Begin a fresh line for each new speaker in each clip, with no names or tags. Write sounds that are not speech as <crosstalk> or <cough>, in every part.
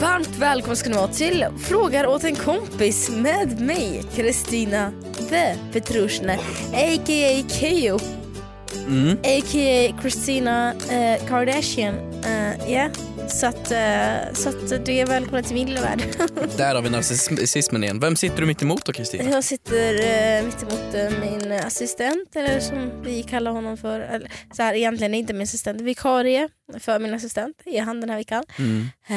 Varmt välkomna ska ni vara till Frågar åt en kompis med mig, Kristina the Petrushina, a.k.a. Keyyo,
Mm.
a.k.a. Christina eh, Kardashian. Eh, ja, Så, att, eh, så att du är välkommen till min lilla värld. <laughs>
Där har vi narcissismen igen. Vem sitter du mitt emot då Kristina?
Jag sitter eh, mittemot eh, min assistent, eller som vi kallar honom för. Eller, så här, egentligen är inte min assistent, vikarie för min assistent är han den här veckan.
Mm.
Eh,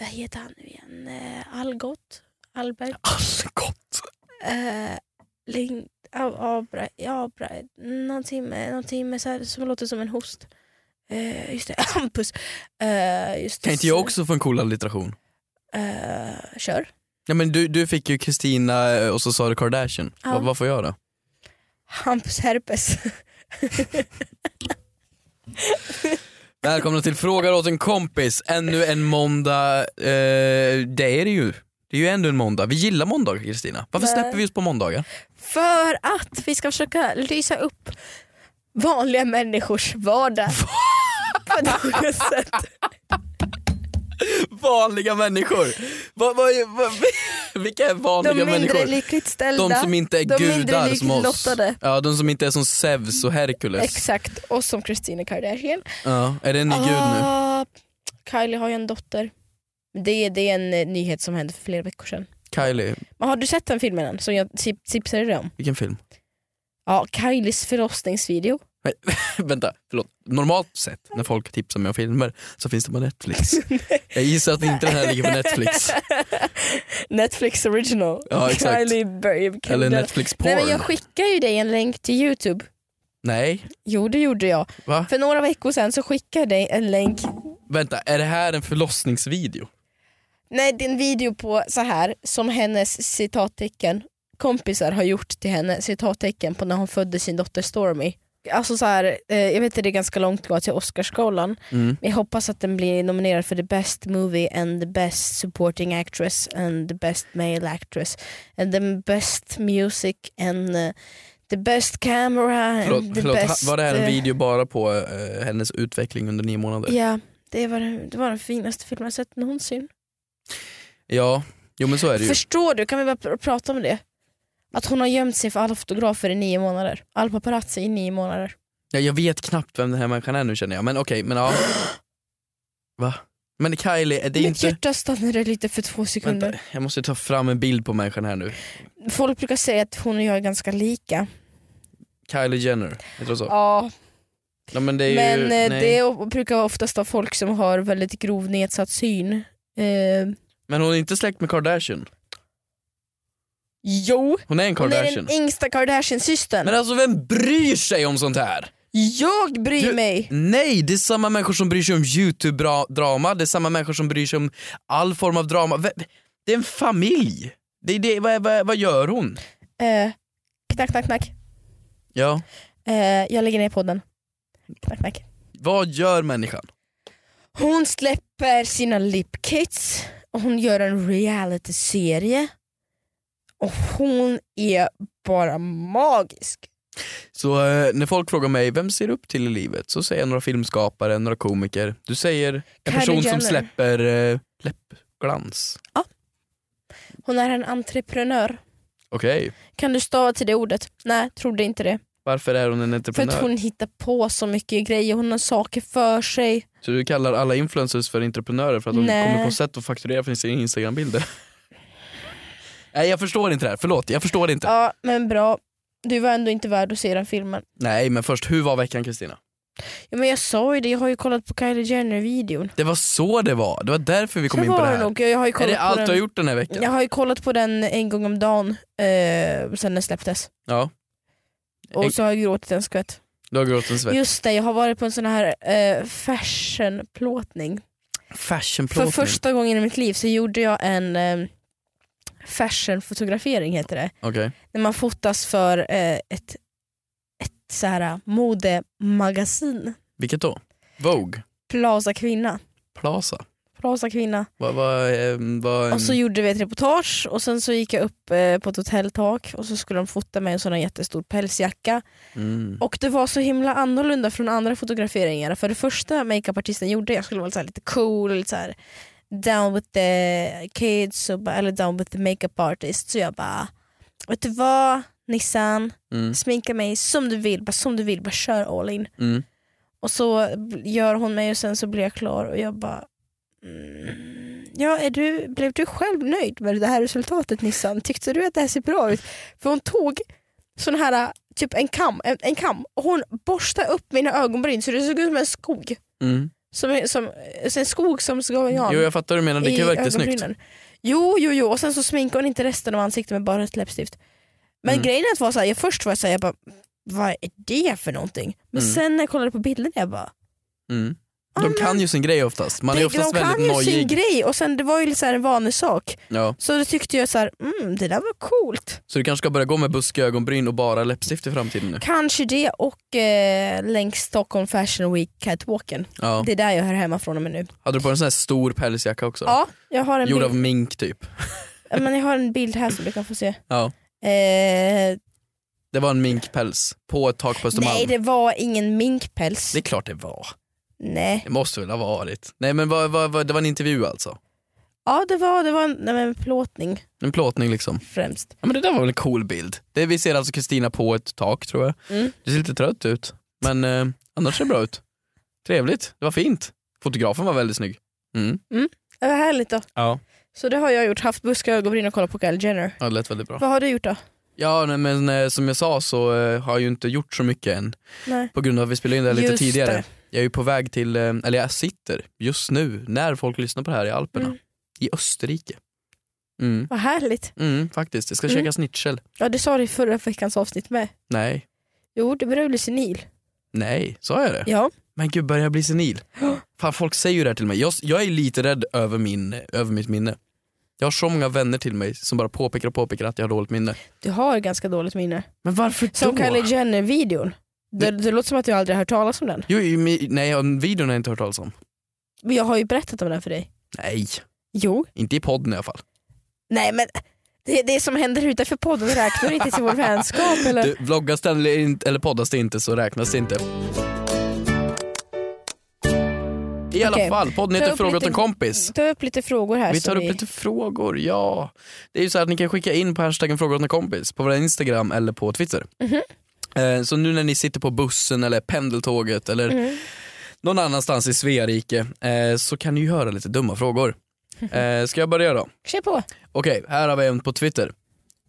vad heter han nu igen? Eh, Algot? Albert?
Algot.
Eh, Ling... Ab Abra... Abra... Någonting med, någonting med så här, som låter som en host. Eh, just det, <laughs> Hampus. Eh, just det.
Kan inte jag också få en cool allitteration?
Eh, kör.
Ja, men du, du fick ju Kristina eh, och så sa du Kardashian.
Ja.
Vad, vad får jag då?
Hampus herpes. <laughs>
Välkomna till Frågar åt en kompis. Ännu en måndag. Eh, det är det ju. Det är ju ändå en måndag. Vi gillar måndagar Kristina. Varför
Nej.
släpper vi just på måndagar?
För att vi ska försöka lysa upp vanliga människors vardag. På något sätt.
Vanliga människor. Va, va, va, <laughs> vilka är <laughs> vanliga
De mindre
människor?
lyckligt ställda.
De som inte är
De mindre
gudar som oss.
lycklottade.
Ja, de som inte är som Zeus och Herkules.
Exakt, och som Christina Kardashian.
Ja, är det en ny gud nu?
Ah, Kylie har ju en dotter. Det är, det är en eh, nyhet som hände för flera veckor sedan.
Kylie,
Men har du sett den filmen än, som jag tip- tipsade dig om?
vilken
<laughs>
film?
Ja, Kylies förlossningsvideo.
Nej, vänta, förlåt. Normalt sett när folk tipsar mig om filmer så finns det
<laughs>
på Netflix. Jag gissar att inte den här ligger på Netflix.
Netflix original.
Ja, exakt.
Kylie Burry.
Eller Netflix porn.
Nej men jag skickade ju dig en länk till Youtube.
Nej,
Jo det gjorde jag.
va?
För några veckor sedan så skickade jag dig en länk.
Vänta, är det här en förlossningsvideo?
Nej det är en video på så här som hennes citattecken kompisar har gjort till henne, citattecken på när hon födde sin dotter Stormy. Alltså så här, eh, jag vet att det är ganska långt kvar till Oscarsgalan
Mm.
Jag hoppas att den blir nominerad för the best movie and the best supporting actress and the best male actress and the best music and uh, the best camera
Förlåt,
and the
förlåt. ha-
best...
var det här en
eh,
video bara på eh, hennes utveckling under nio månader?
Ja, det var, den- det var den finaste filmen jag sett någonsin.
Ja, jo men så är det ju.
Förstår du? Kan vi bara pr- prata om det? Att hon har gömt sig för alla fotografer i nio månader. Alla paparazzi i nio månader.
Ja, jag vet knappt vem den här människan är nu känner jag, men okej,
<gasps>
men ja. Va? Men Kylie, är det
Mitt
inte...
hjärta stannade lite för två sekunder.
Vänta, jag måste ta fram en bild på människan här nu.
Folk brukar säga att hon och jag är ganska lika.
Kylie Jenner, heter hon så?
Ja,
Nej, men det är
Men
ju,
eh,
nej.
det o- brukar oftast vara folk som har väldigt grov nedsatt syn. Eh,
men hon är inte släkt med Kardashian.
jo,
Hon är en
hon är
Kardashian.
den yngsta Kardashian-systern.
Men alltså vem bryr sig om sånt här?
Jag bryr
Du-
mig!
Nej, det är samma människor som bryr sig om Youtube-drama, det är samma människor som bryr sig om all form av drama. Ve- Det är en familj. Det är det, vad, vad, vad gör hon?
Eh, knack, knack, knack.
Ja.
Eh, jag lägger ner podden. Knack, knack.
Vad gör människan?
Hon släpper sina lipkits och hon gör en reality-serie. Och hon är bara magisk.
Så eh, när folk frågar mig, vem ser du upp till i livet? Så säger jag några filmskapare, några komiker. Du säger en
Kylie
person
Jenner.
som släpper eh, läppglans.
Hon är en entreprenör.
Okej,
Kan du stava till det ordet? Nej, trodde inte det.
varför är hon en
För
entreprenör?
att hon hittar på så mycket grejer, hon har saker för sig.
Så du kallar alla influencers för entreprenörer för att de
Nej.
kommer på sätt att fakturera för sina instagrambilder? Nej jag förstår inte det här, förlåt jag förstår inte.
Ja, men bra. Du var ändå inte värd att se den filmen.
Nej men först, hur var veckan Kristina?
Ja, men jag sa ju det, jag har ju kollat på Kylie Jenner-videon.
Det var så det var, det var därför vi kom
Så
in på det
var
här.
nog. Jag har ju
är
kollat
det allt
på
du
den.
har gjort den här veckan?
Jag har ju kollat på den en gång om dagen eh, sen den släpptes.
Ja. En-
Och så har jag gråtit en skvätt.
Du har gråtit en svett.
Just det, jag har varit på en sån här eh, fashionplåtning. För
Fashionplåtning.
första gången i mitt liv så gjorde jag en eh, fashionfotografering heter det.
Okej.
när man fotas för eh, ett, ett så här, eh, modemagasin.
Vilket då? Vogue?
Plaza Kvinna.
Plaza?
Plaza Kvinna.
Vad, vad, ehm, vad,
Och så gjorde vi ett reportage och sen så gick jag upp eh, på ett hotelltak och så skulle de fota med en sån här jättestor pälsjacka.
mm.
Och det var så himla annorlunda från andra fotograferingar. För det första makeupartisten gjorde, jag skulle vara så här lite cool, lite så här, down with the kids och bara, eller down with the makeup artist. Så jag bara, vet du vad Nissan,
Mm.
sminka mig som du vill, bara som du vill, bara kör all in.
Mm.
Och så gör hon mig och sen så blir jag klar och jag bara mm, Ja, är du, blev du själv nöjd med det här resultatet Nissan? Tyckte du att det här ser bra ut? För hon tog sån här, typ en kam, en, en kam och hon borstade upp mina ögonbryn så det såg ut som en skog.
Mm.
Som, som, en skog som ska jag
Jo jag fattar vad du menar, det kan ju verka snyggt.
Jo, jo, jo. Och sen så sminkade hon inte resten av ansiktet med bara ett läppstift. Men
Mm.
grejen är att var så här, jag först var jag så här, jag bara, vad är det för någonting? Men
Mm.
sen när jag kollade på bilderna, jag bara,
Mm.
Ja,
De
men-
kan ju sin grej oftast, man
det-
är oftast
de kan
väldigt
ju sin
nojig.
grej och sen det var ju lite så här en vanesak.
Ja.
Så då tyckte jag så här, mm, det där var coolt.
Så du kanske ska börja gå med buskiga ögonbryn och bara läppstift i framtiden nu?
Kanske det och eh, längs Stockholm Fashion Week catwalken.
Ja.
Det är där jag hör hemma från och med nu.
Hade du på en sån här stor pälsjacka också?
Ja, jag har en
Gjord av
bild,
mink typ.
men jag har en bild här som du kan få se.
Ja.
Eh,
Det var en minkpäls på ett tak på Östermalm.
nej det var ingen minkpäls.
det är klart det var.
Nej.
Det måste väl ha varit. Nej men vad, vad, vad, det var en intervju alltså?
Ja det var, det var en, nej, men plåtning
En plåtning liksom.
främst.
Ja, men det där var väl en cool bild. Det, vi ser alltså Kristina på ett tak tror jag.
Mm.
Du ser lite trött ut. Men eh, annars ser det bra ut. Trevligt, det var fint. Fotografen var väldigt snygg. Mm.
Det var härligt då.
Ja.
Så det har jag gjort, haft buskar, ögonbryn och kollat på Kylie Jenner.
ja, det lät väldigt bra.
Vad har du gjort då?
Ja nej, men eh, som jag sa så eh, har jag ju inte gjort så mycket än.
Nej.
På grund av att vi spelade in det här lite
Just
tidigare.
det.
Jag är ju på väg till, eh, eller jag sitter just nu när folk lyssnar på det här i Alperna.
Mm.
I Österrike. Mm,
Vad härligt.
mm, faktiskt. Jag ska
Mm.
käka schnitzel.
Ja det sa du i förra veckans avsnitt med.
Nej,
Jo du börjar bli senil.
nej, sa jag det?
Ja.
Men gud, börjar jag
<gasps>
bli senil? Fan, folk säger ju det här till mig. Jag, jag är lite rädd över, min, över mitt minne. Jag har så många vänner till mig som bara påpekar och påpekar att jag har dåligt minne.
Du har ganska dåligt minne.
Men varför
Som
då?
Kylie Jenner-videon. Det, det låter som att jag aldrig har hört talas om den.
Jo, i mi- nej, om videon har jag inte hört talas om.
Men jag har ju berättat om den för dig.
Nej,
Jo.
inte i podden i alla fall.
Nej men det, det som händer utanför podden räknar inte <laughs> till vår vänskap eller?
Du, vloggas det eller, inte- eller poddas det inte så räknas det inte. I alla
Okej.
fall, podden
Ta
heter
upp
Fråga åt
lite-
en kompis.
Ta upp lite frågor här.
Vi
som
tar upp lite frågor, ja. Det är ju så här att ni kan skicka in på hashtaggen fråga åt en kompis på vår Instagram eller på Twitter.
Mhm.
Eh, Så nu när ni sitter på bussen eller pendeltåget eller
Mm.
någon annanstans i Sverige eh, så kan ni ju höra lite dumma frågor.
<laughs>
Eh, Ska jag börja då?
Kör på.
Okej, här har vi en på Twitter.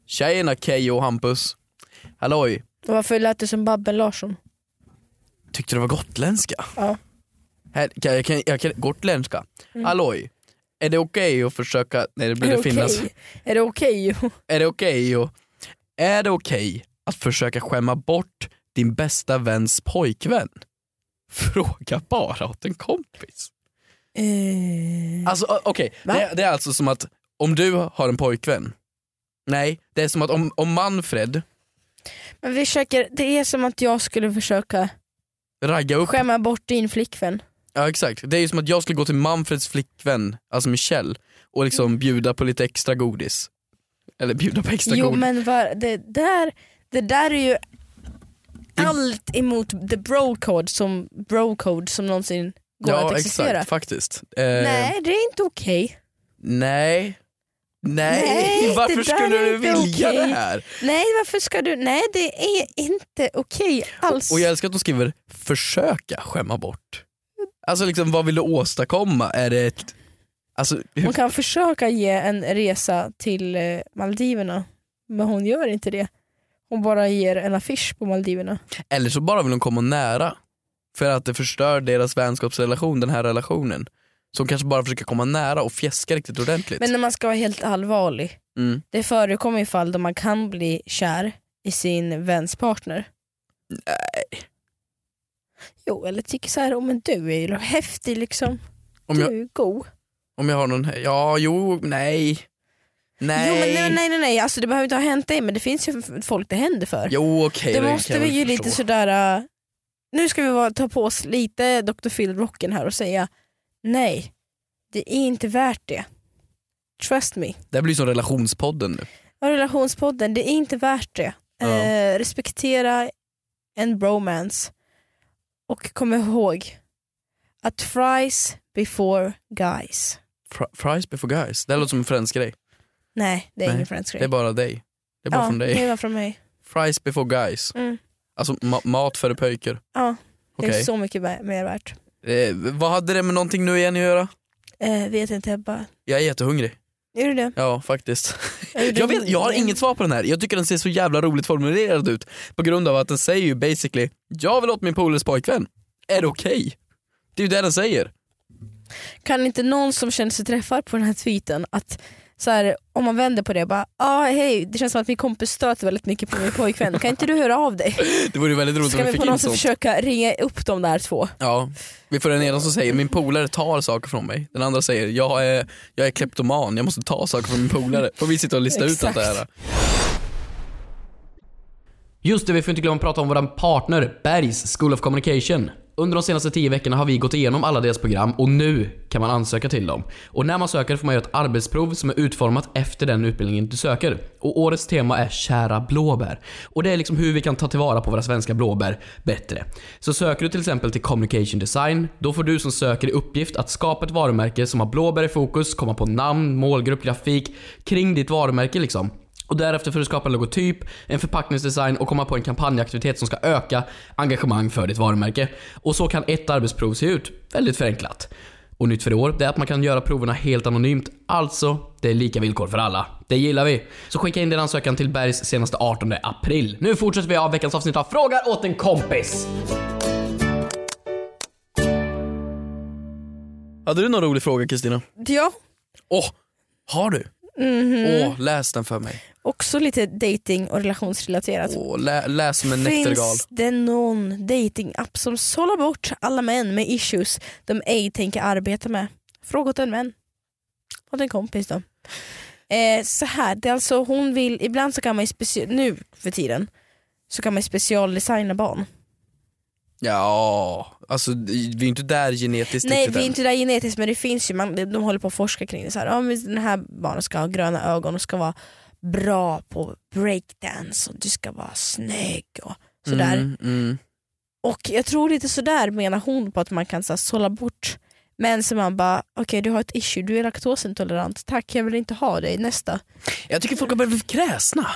Tjejerna Keyyo och Hampus. Halloj,
Varför lät du som Babben Larsson?
tyckte det var gotländska?
Ja. Mm.
Här, kan, jag, kan, jag kan, gotländska. Halloj, är det okej att försöka... Nej det blir det finnas.
okej? Är det okej?
Är det okej att- Är det okej att försöka skämma bort din bästa väns pojkvän? <laughs> Fråga bara åt en kompis. Alltså o- okej,
Mm. Va?
det, det är alltså som att om du har en pojkvän, nej det är som att om, om Manfred
Men vi försöker, det är som att jag skulle försöka
raggar upp,
skämma bort din flickvän.
ja exakt, det är ju som att jag skulle gå till Manfreds flickvän, alltså Michelle, och
Mm.
liksom bjuda på lite extra godis. Eller bjuda på extra
Jo
godis.
men var, det, där, det där är ju allt emot the bro code som, bro code som någonsin går
ja
att existera.
exakt, faktiskt. Eh,
Nej det är inte okej.
Nej. Nej,
Nej,
<laughs> varför
det där är
skulle du
inte
vilja
okej.
det här?
Nej varför ska du, nej det är inte okej alls.
Och jag älskar att de skriver försöka skämma bort. Alltså liksom, vad vill du åstadkomma? Är det ett... Alltså, hur...
Hon kan försöka ge en resa till eh, Maldiverna men hon gör inte det. Hon bara ger en affisch på Maldiverna.
Eller så bara vill de komma nära. För att det förstör deras vänskapsrelation, den här relationen. Så de kanske bara försöker komma nära och fjäska riktigt ordentligt.
Men när man ska vara helt allvarlig,
Mm.
det förekommer ju fall då man kan bli kär i sin väns partner. Nej. Jo, eller tycker så här, oh, men du är ju häftig liksom.
Om, jag,
Du är god.
om jag har någon... Ja, jo, nej. Nej.
Jo, men nej, nej, nej, nej. Alltså, det behöver inte ha hänt dig men det finns ju f- folk det händer för.
Jo, okej.
det
kan
måste
jag
vi
väl
ju
förstå.
lite sådär, äh, nu ska vi vara, ta på oss lite Dr. Phil-rocken här och säga nej, det är inte värt det. Trust me.
Det här blir som relationspodden nu.
Ja, relationspodden, det är inte värt det.
Ja.
Eh, respektera en bromance. Och kom ihåg att fries before guys.
Fr- fries before guys. Det här låter som en fransk grej.
Nej, det är
Nej,
ingen fransk
Det är
grej.
bara dig. Det är bara
ja,
från dig.
det var från mig.
Fries before guys.
Mm.
Alltså ma- mat före pojkar.
Ja, det
Okej.
är så mycket vä- mer värt.
Eh, vad hade det med någonting nu igen att göra?
Eh, vet inte, jag bara...
Jag är jättehungrig.
Är du det?
Ja, faktiskt.
<laughs> gjorde
Jag, vet, jag har
ingenting.
inget svar på den här. Jag tycker den ser så jävla roligt formulerad ut. På grund av att den säger ju basically, jag vill åt min polares pojkvän. Är det okej? Det är ju det den säger.
Kan inte någon som känner sig träffad på den här tweeten att så här, om man vänder på det bara ah, hej det känns som att min kompis stöter väldigt mycket på min pojkvän, kan inte du höra av dig?
Det vore ju väldigt roligt
Ska
om
vi
vi fick
på
in
något sätt
sånt.
försöka ringa upp de där två?
Ja. Vi får den ena som säger, min polare tar saker från mig. Den andra säger, jag är, jag är kleptoman, jag måste ta saker från min polare. Får vi sitta och lista ut allt det här.
Exakt.
Just det, vi får inte glömma att prata om vår partner Bergs School of Communication. Under de senaste 10 veckorna har vi gått igenom alla deras program och nu kan man ansöka till dem. Och när man söker får man göra ett arbetsprov som är utformat efter den utbildningen du söker. Och årets tema är kära blåbär. Och det är liksom hur vi kan ta tillvara på våra svenska blåbär bättre. Så söker du till exempel till Communication Design, då får du som söker i uppgift att skapa ett varumärke som har blåbär i fokus, komma på namn, målgrupp, grafik kring ditt varumärke liksom. Och därefter får du skapa en logotyp, en förpackningsdesign och komma på en kampanjaktivitet som ska öka engagemang för ditt varumärke. Och så kan ett arbetsprov se ut. Väldigt förenklat. Och nytt för i år, det är att man kan göra proverna helt anonymt. Alltså, det är lika villkor för alla. Det gillar vi. Så skicka in din ansökan till Bergs senaste 18 april. Nu fortsätter vi av veckans avsnitt av Frågar åt en kompis. Hade du någon rolig fråga Kristina?
Ja,
Åh, har du? Åh, läs den för mig.
Mhm. också lite dating och relationsrelaterat.
Åh, lä, läs som en näktergal.
Alltså, Finns det någon datingapp som sållar bort alla män med issues de ej tänker arbeta med? Fråga åt en vän. Åt en kompis då. Eh, så här, det är alltså hon vill, ibland så kan man ju speci- nu för tiden så kan man ju specialdesigna barn.
Ja, alltså vi är ju inte där genetiskt
Nej
riktigt
vi är
än.
inte där genetiskt men det finns ju, man, de de håller på att forska kring det. Så här, ja, men den här barnen ska ha gröna ögon och ska vara bra på breakdance och du ska vara snygg och sådär.
Mm, mm.
Och jag tror lite sådär menar hon på att man kan så här, sålla bort men så man bara, okej du har ett issue, du är laktosintolerant, tack jag vill inte ha dig, nästa.
Jag tycker folk har börjat bli kräsna.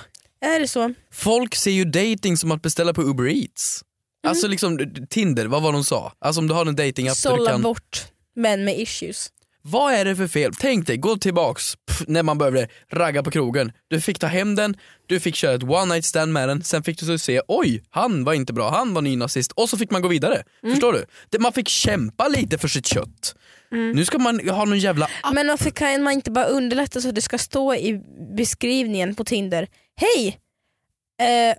Är det så?
Folk ser ju dating som att beställa på Uber Eats.
Mm.
Alltså liksom Tinder, vad var de sa? Alltså om du har en datingapp där du
Sålla
kan...
bort män med issues.
Vad är det för fel? Tänk dig, gå tillbaks pff, när man började ragga på krogen. Du fick ta hem den, du fick köra ett one night stand med den, sen fick du så se oj, han var inte bra, han var nynazist och så fick man gå vidare.
Mm.
Förstår du? Det- Man fick kämpa lite för sitt kött.
Mm.
Nu ska man ha någon jävla app.
Men varför kan man inte bara underlätta så att det ska stå i beskrivningen på Tinder, hej! Eh,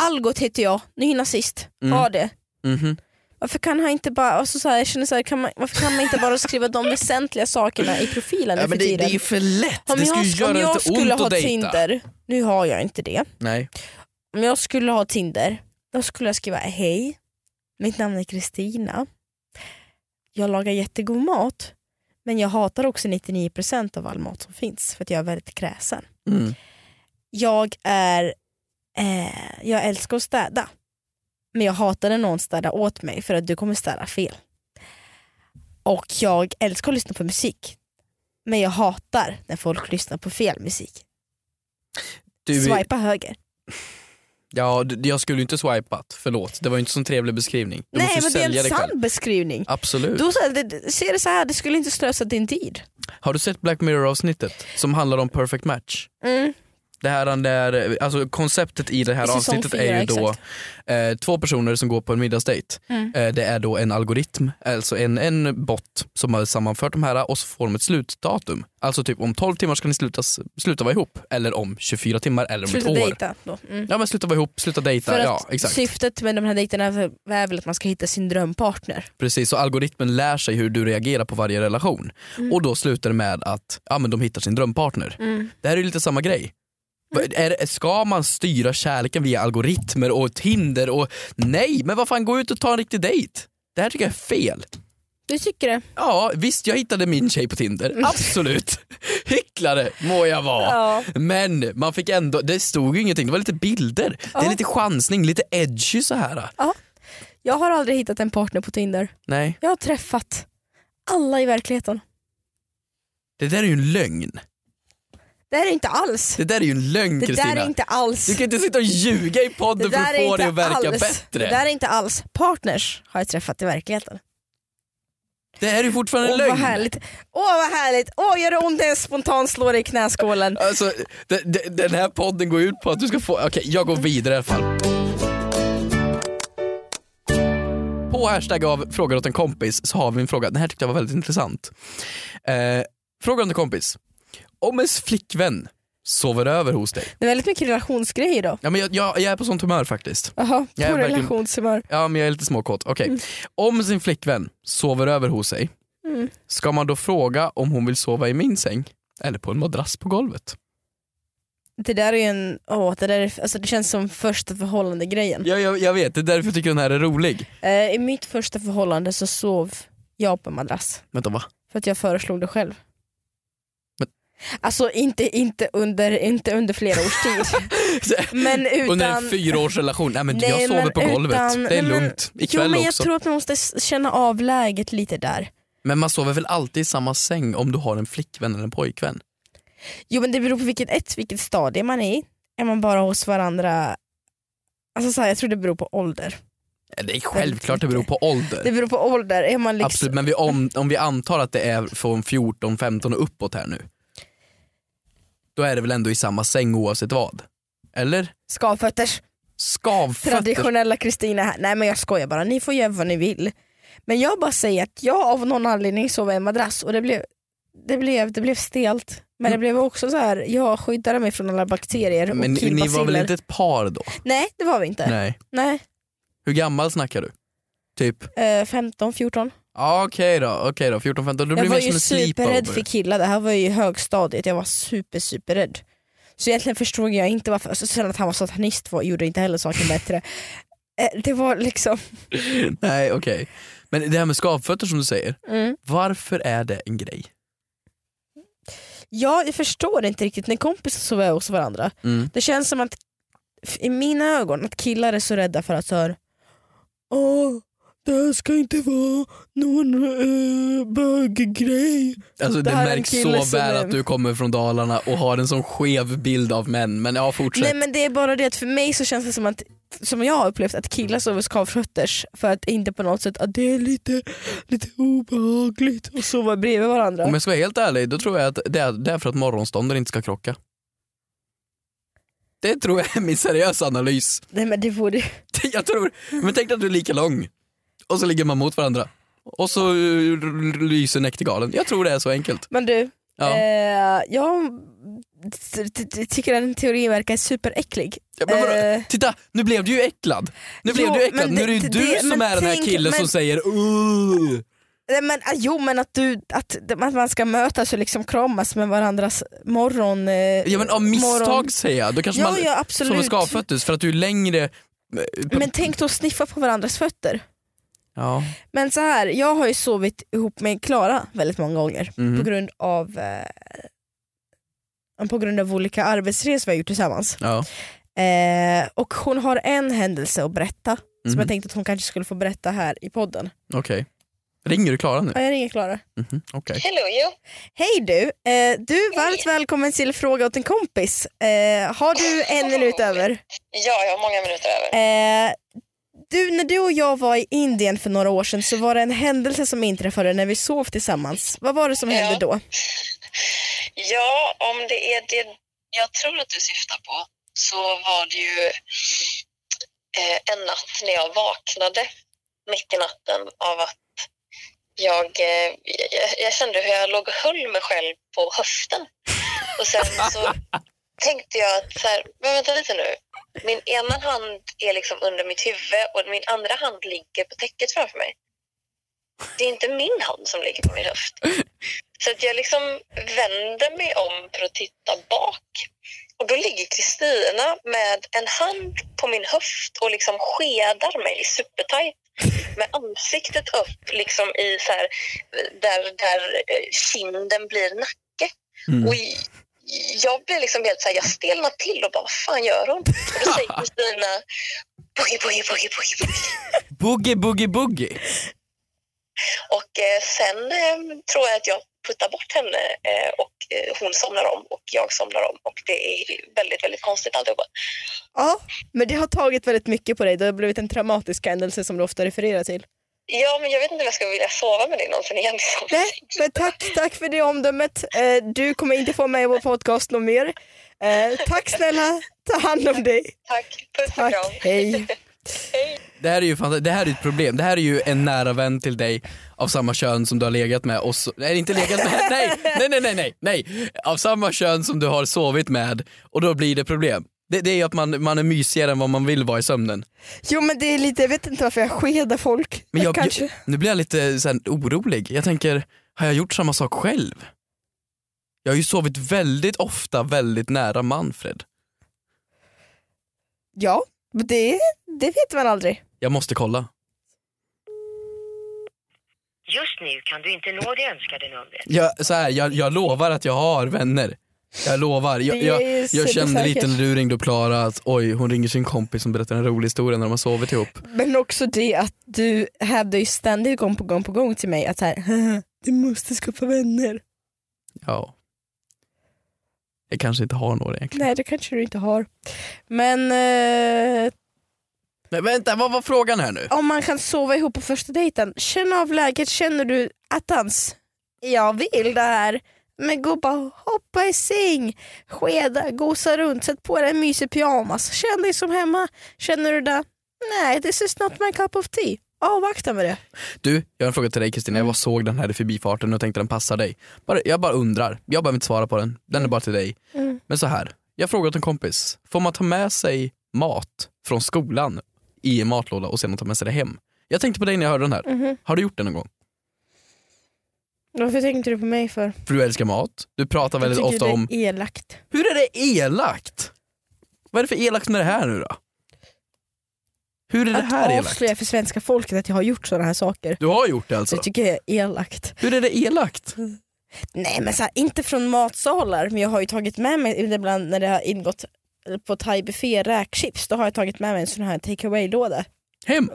Algot heter jag, ny nazist,
Mm.
ha det.
Mhm.
Varför kan han inte bara, alltså så här, jag känner så här, kan man, varför kan man inte bara skriva de väsentliga sakerna i profilen nu
Ja,
för
men det,
tiden?
det är för lätt,
Om
det skulle
jag,
ju göra
om jag
lite ont
skulle ha
att dejta.
Tinder, nu har jag inte det.
Nej.
Om jag skulle ha Tinder, då skulle jag skriva hej, mitt namn är Kristina. Jag lagar jättegod mat, men jag hatar också 99% av all mat som finns för att jag är väldigt kräsen.
Mm.
Jag är, eh, jag älskar att städa, men jag hatar när någon städar åt mig för att du kommer städa fel. Och jag älskar att lyssna på musik, men jag hatar när folk lyssnar på fel musik.
Du,
Swipa höger.
ja, du, jag skulle ju inte swipat, förlåt. Det var ju inte så trevlig beskrivning. Du
Nej
måste ju
men det är
sälja
en
dig själv.
sann beskrivning.
Absolut.
Då, så här, det- det- ser det så här, det skulle inte slösa din tid.
Har du sett Black Mirror avsnittet som handlar om perfect match?
Mm.
Det här där, alltså konceptet i det här
I säsong
avsnittet är
fyra,
ju då eh, två personer som går på en middagsdejt.
Mm.
Eh, det är då en algoritm, alltså en, en bot som har sammanfört de här och så får de ett slutdatum. Alltså typ om 12 timmar ska ni slutas, sluta vara ihop eller om 24 timmar eller om
Sluta
ett år.
dejta då. Mm.
Ja men sluta vara ihop, sluta
För
dejta,
att
ja exakt.
syftet med de här dejterna är väl att man ska hitta sin drömpartner.
Precis, så algoritmen lär sig hur du reagerar på varje relation.
Mm.
Och då slutar det med att ja, men de hittar sin drömpartner. Det här är ju lite samma grej. Va-
Mm.
Är, det- ska man styra kärleken via algoritmer och Tinder och nej, men vad fan gå ut och ta en riktig dejt. Det här tycker jag är fel.
Du tycker det?
Ja visst, jag hittade min tjej på Tinder, absolut. <laughs> Hycklare må jag vara.
Mm. Ja.
Men man fick ändå, det stod ju ingenting, det var lite bilder. Det är
Ja.
lite chansning, lite edgy så här.
Jag har aldrig hittat en partner på Tinder.
Nej.
Jag har träffat alla i verkligheten.
Det där är ju en lögn.
Det här är inte alls.
Det där är ju en lögn
Det där är
Kristina.
inte alls.
Du kan inte sitta och ljuga i podden för att få det att verka
alls.
bättre.
Det där är inte alls. Partners har jag träffat i verkligheten.
Det här är ju fortfarande
Åh
en lögn.
vad härligt. Åh vad härligt. Åh gör det ont när jag spontant slår dig i knäskålen.
Alltså, de, de, den här podden går ut på att du ska få... Okej, jag går vidare i alla fall. På hashtag av frågar åt en kompis så har vi en fråga. Den här tyckte jag var väldigt intressant. Eh, frågar åt en kompis. Om ens flickvän sover över hos dig.
Det är väldigt mycket relationsgrejer då.
Ja, men jag, jag, jag är på sånt humör faktiskt.
Jaha, på
Jag är verkligen-
relationshumör.
Ja, men jag är lite småkåt. Okej. Om sin flickvän sover över hos sig,
Mm.
ska man då fråga om hon vill sova i min säng? Eller på en madrass på golvet?
Det där är ju en, åh, det, där är, alltså det känns som första förhållande grejen.
Ja, jag, jag vet, det är därför jag tycker den här är rolig.
Eh, I mitt första förhållande så sov jag på en madrass.
Vänta, va?
För att jag föreslog det själv.
Men-
Alltså inte, inte, under, inte under flera års
<laughs>
tid. men utan...
Under en fyraårsrelation? Nej men
Nej,
jag sover
men
på golvet,
utan-
det
nej,
är
men-
lugnt.
jo
Ikväll
men jag
också.
tror att man måste s- känna av läget lite där.
Men man sover väl alltid i samma säng om du har en flickvän eller en pojkvän?
Jo men det beror på vilket, ett, vilket stadie man är i. Är man bara hos varandra Alltså så här, jag tror det beror på ålder.
Det är självklart det beror på ålder.
Det beror på ålder. Är man liksom...
Absolut, men vi, om, om vi antar att det är från 14, 15 och uppåt här nu. Då är det väl ändå i samma säng oavsett vad? Eller?
Skavfötters.
Skavfötter?
Traditionella Kristina här. Nej men jag skojar bara, ni får göra vad ni vill. Men jag bara säger att jag av någon anledning sov i en madrass och det blev, det blev, det blev stelt. Men det blev också så här, jag skyddade mig från alla bakterier och
Mm. Men ni, ni var väl
killbaciller.
inte ett
<laughs>
par då?
Nej det var vi inte. Nej.
Hur gammal snackar du? Typ?
Eh, 15, 14.
Ja okej då, okej då, 14, 15. Du
Jag
blir
var
mer
ju
som en
superrädd
sleepover.
för killar, det här var ju i högstadiet, jag var super superrädd. Så egentligen förstod jag inte varför, alltså, sen att han var satanist var, gjorde inte heller saken bättre. Eh, Det var liksom...
<laughs> Nej okej. Men det här med skavfötter som du säger,
mm.
varför är det en grej?
Ja, jag förstår inte riktigt när kompisar sover hos varandra.
Mm.
Det känns som att f- i mina ögon att killar är så rädda för att så här, Åh, det här ska inte vara någon äh, böggrej.
Alltså det,
Det här är en
märks
kille
så
som
väl
är-
att du kommer från Dalarna och har en sån skev bild av män. Men ja fortsätt.
Nej men det är bara det att för mig så känns det som att som jag har upplevt att killar sover skavfötters för att inte på något sätt att det är lite, lite obehagligt att sova bredvid varandra.
Om jag ska vara helt ärlig, då tror jag att det är, det är för att morgonstånden inte ska krocka. Det tror jag är min seriösa analys. <laughs>
Nej men det vore
Jag tror, men tänk dig att du är lika lång och så ligger man mot varandra och så eh, lyser näktergalen. Jag tror det är så enkelt.
Men du,
Ja.
eh, jag t- t- t- tycker den teorin verkar superäcklig.
Ja, men vadå?
eh.
Titta, nu blev du ju äcklad. Nu blev
Jo,
du äcklad.
men
nu är det ju
det-
du
det-
som
men
är den här
tänk-
killen som
men-
säger "Åh."
Nej, men, ah, jo men att, du, att, att man ska mötas och liksom kramas med varandras morgon... Eh,
Ja men av misstag
morgon-
säger jag. Då kanske
Ja,
man
ja
sover
absolut.
skavfötus för att du är längre... eh,
Men tänk då att sniffa på varandras fötter.
Ja.
Men så här, jag har ju sovit ihop med Klara väldigt många gånger
Mhm.
på grund av eh, på grund av olika arbetsresor vi har gjort tillsammans.
Ja.
Eh, och hon har en händelse att berätta som
Mhm.
jag tänkte att hon kanske skulle få berätta här i podden.
Okej. Ringer du Klara nu?
Ja, jag ringer Klara.
Mhm, Okej.
Hello you.
Hej du! Eh, du, varmt välkommen till Fråga åt en kompis. Eh, har du en minut över?
Ja, jag har många minuter över.
Eh, du, när du och jag var i Indien för några år sedan så var det en händelse som inträffade när vi sov tillsammans. Vad var det som hände
Ja.
då?
Ja, om det är det jag tror att du syftar på så var det ju eh, en natt när jag vaknade mitt i natten av att jag, eh, jag, jag kände hur jag låg och höll mig själv på höften. Och sen så <laughs> tänkte jag att så här, men vänta lite nu. Min ena hand är liksom under mitt huvud och min andra hand ligger på täcket framför mig. Det är inte min hand som ligger på min höft. Så att jag liksom vänder mig om för att titta bak. Och då ligger Kristina med en hand på min höft och liksom skedar mig supertajt med ansiktet upp liksom i så här, där, där eh, kinden blir nacke.
Mm.
Och j- jag blir liksom helt så här, jag stelnar till och bara, vad fan gör hon? Och då säger Kristina, boogie, boogie, boogie, boogie, boogie.
Boogie, boogie, boogie.
Och eh, sen eh, tror jag att jag puttar bort henne eh, och eh, hon somnar om och jag somnar om och det är väldigt, väldigt konstigt alltihopa.
Ja, men det har tagit väldigt mycket på dig. Det har blivit en traumatisk händelse som du ofta refererar till.
Ja, men jag vet inte om jag skulle vilja sova med dig någonsin igen. Liksom.
Nej, men tack, tack för det omdömet. Eh, du kommer inte få med i vår podcast någon mer. Eh, tack snälla, ta hand om dig.
Tack, puss och
Tack,
kram.
hej.
Det här är ju fanta- det här är ett problem. Det här är ju en nära vän till dig av samma kön som du har legat med och så- nej inte legat med, nej, nej, nej, nej, nej, nej, av samma kön som du har sovit med och då blir det problem. Det, det är ju att man, man är mysigare än vad man vill vara i sömnen.
Jo men det är lite, jag vet inte varför jag skedar folk.
Men jag,
Kanske.
jag, nu blir jag lite så här, orolig. Jag tänker, har jag gjort samma sak själv? Jag har ju sovit väldigt ofta väldigt nära Manfred.
Ja, men det, det vet man aldrig.
Jag måste kolla.
Just nu kan du inte nå det önskade numret.
Jag, så här, jag, jag lovar att jag har vänner. Jag lovar. Jag,
Det är
jag,
ju
jag kände
supersäkert.
lite när du ringde upp Klara att oj, hon ringer sin kompis som berättar en rolig historia när de har sovit ihop.
Men också det att du hävdar ju ständigt gång på gång på gång till mig att så här, "Haha, du måste skaffa vänner.
Ja. Jag kanske inte har några egentligen.
Nej det kanske du inte har. Men eh,
Men vänta, vad var frågan här nu?
om man kan sova ihop på första dejten, känn av läget, känner du attans, jag vill det här. Men gå bara hoppa i säng, skeda, gosa runt, sätt på dig en mysig pyjamas, känn dig som hemma. Känner du det? Nej, this is not my cup of tea. Avvakta med det.
Du, jag har en fråga till dig Kristina. Jag bara såg den här i förbifarten och tänkte den passar dig. Bara, jag bara undrar. Jag behöver inte svara på den. Den är bara till dig.
Mm.
Men så här. Jag frågade en kompis. Får man ta med sig mat från skolan i en matlåda och sedan ta med sig det hem? Jag tänkte på dig när jag hörde den här. Har du gjort det någon gång?
Varför tänkte du på mig för?
För du älskar mat. Du pratar väldigt
jag tycker
ofta
det är
om...
elakt.
Hur är det elakt? Vad är det för elakt med det här nu då? Hur är det här
att
elakt?
avslöja för svenska folket att jag har gjort sådana här saker.
Du har gjort det alltså?
Det tycker jag är elakt.
Hur är det elakt?
Nej men så här, inte från matsalar men jag har ju tagit med mig ibland när det har ingått eller på thai-buffé räkchips då har jag tagit med mig en sån här take <laughs> away-låda.
Hem?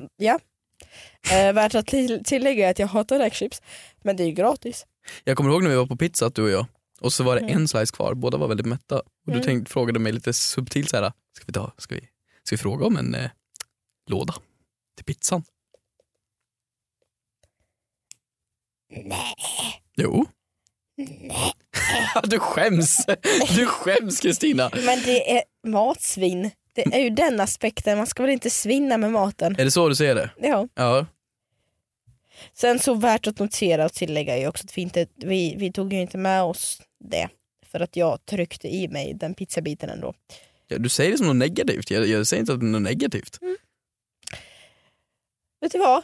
Eh, värt att till- tillägga är att jag hatar räkchips men det är ju gratis.
Jag kommer ihåg när vi var på pizza du och jag och så var det en slice kvar, båda var väldigt mätta. Och du
Mm.
tänkte, frågade mig lite subtilt så här, ska vi, ta, ska vi, ska vi fråga om en eh, låda till pizzan?
Nej.
Jo.
Nej.
<laughs> du skäms! Du skäms Kristina!
Men det är matsvinn. Det är ju den aspekten, man ska väl inte svinna med maten.
Är det så du ser det?
Ja.
Ja.
Sen så värt att notera och tillägga är ju också att vi, inte, vi, vi tog ju inte med oss det. För att jag tryckte i mig den pizzabiten ändå.
Ja, Du säger det som något negativt, jag, jag säger inte att det är något negativt.
Vet du vad?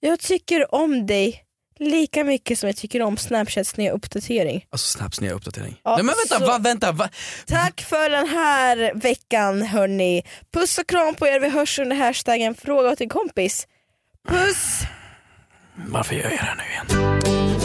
Jag tycker om dig lika mycket som jag tycker om Snapchats nya uppdatering.
Alltså snaps nya uppdatering.
Ja,
Nej men vänta,
så-
va, vänta, va?
Tack för den här veckan hörni. Puss och kram på er. Vi hörs under hashtaggen fråga åt din kompis. Puss!
varför gör jag det här nu igen?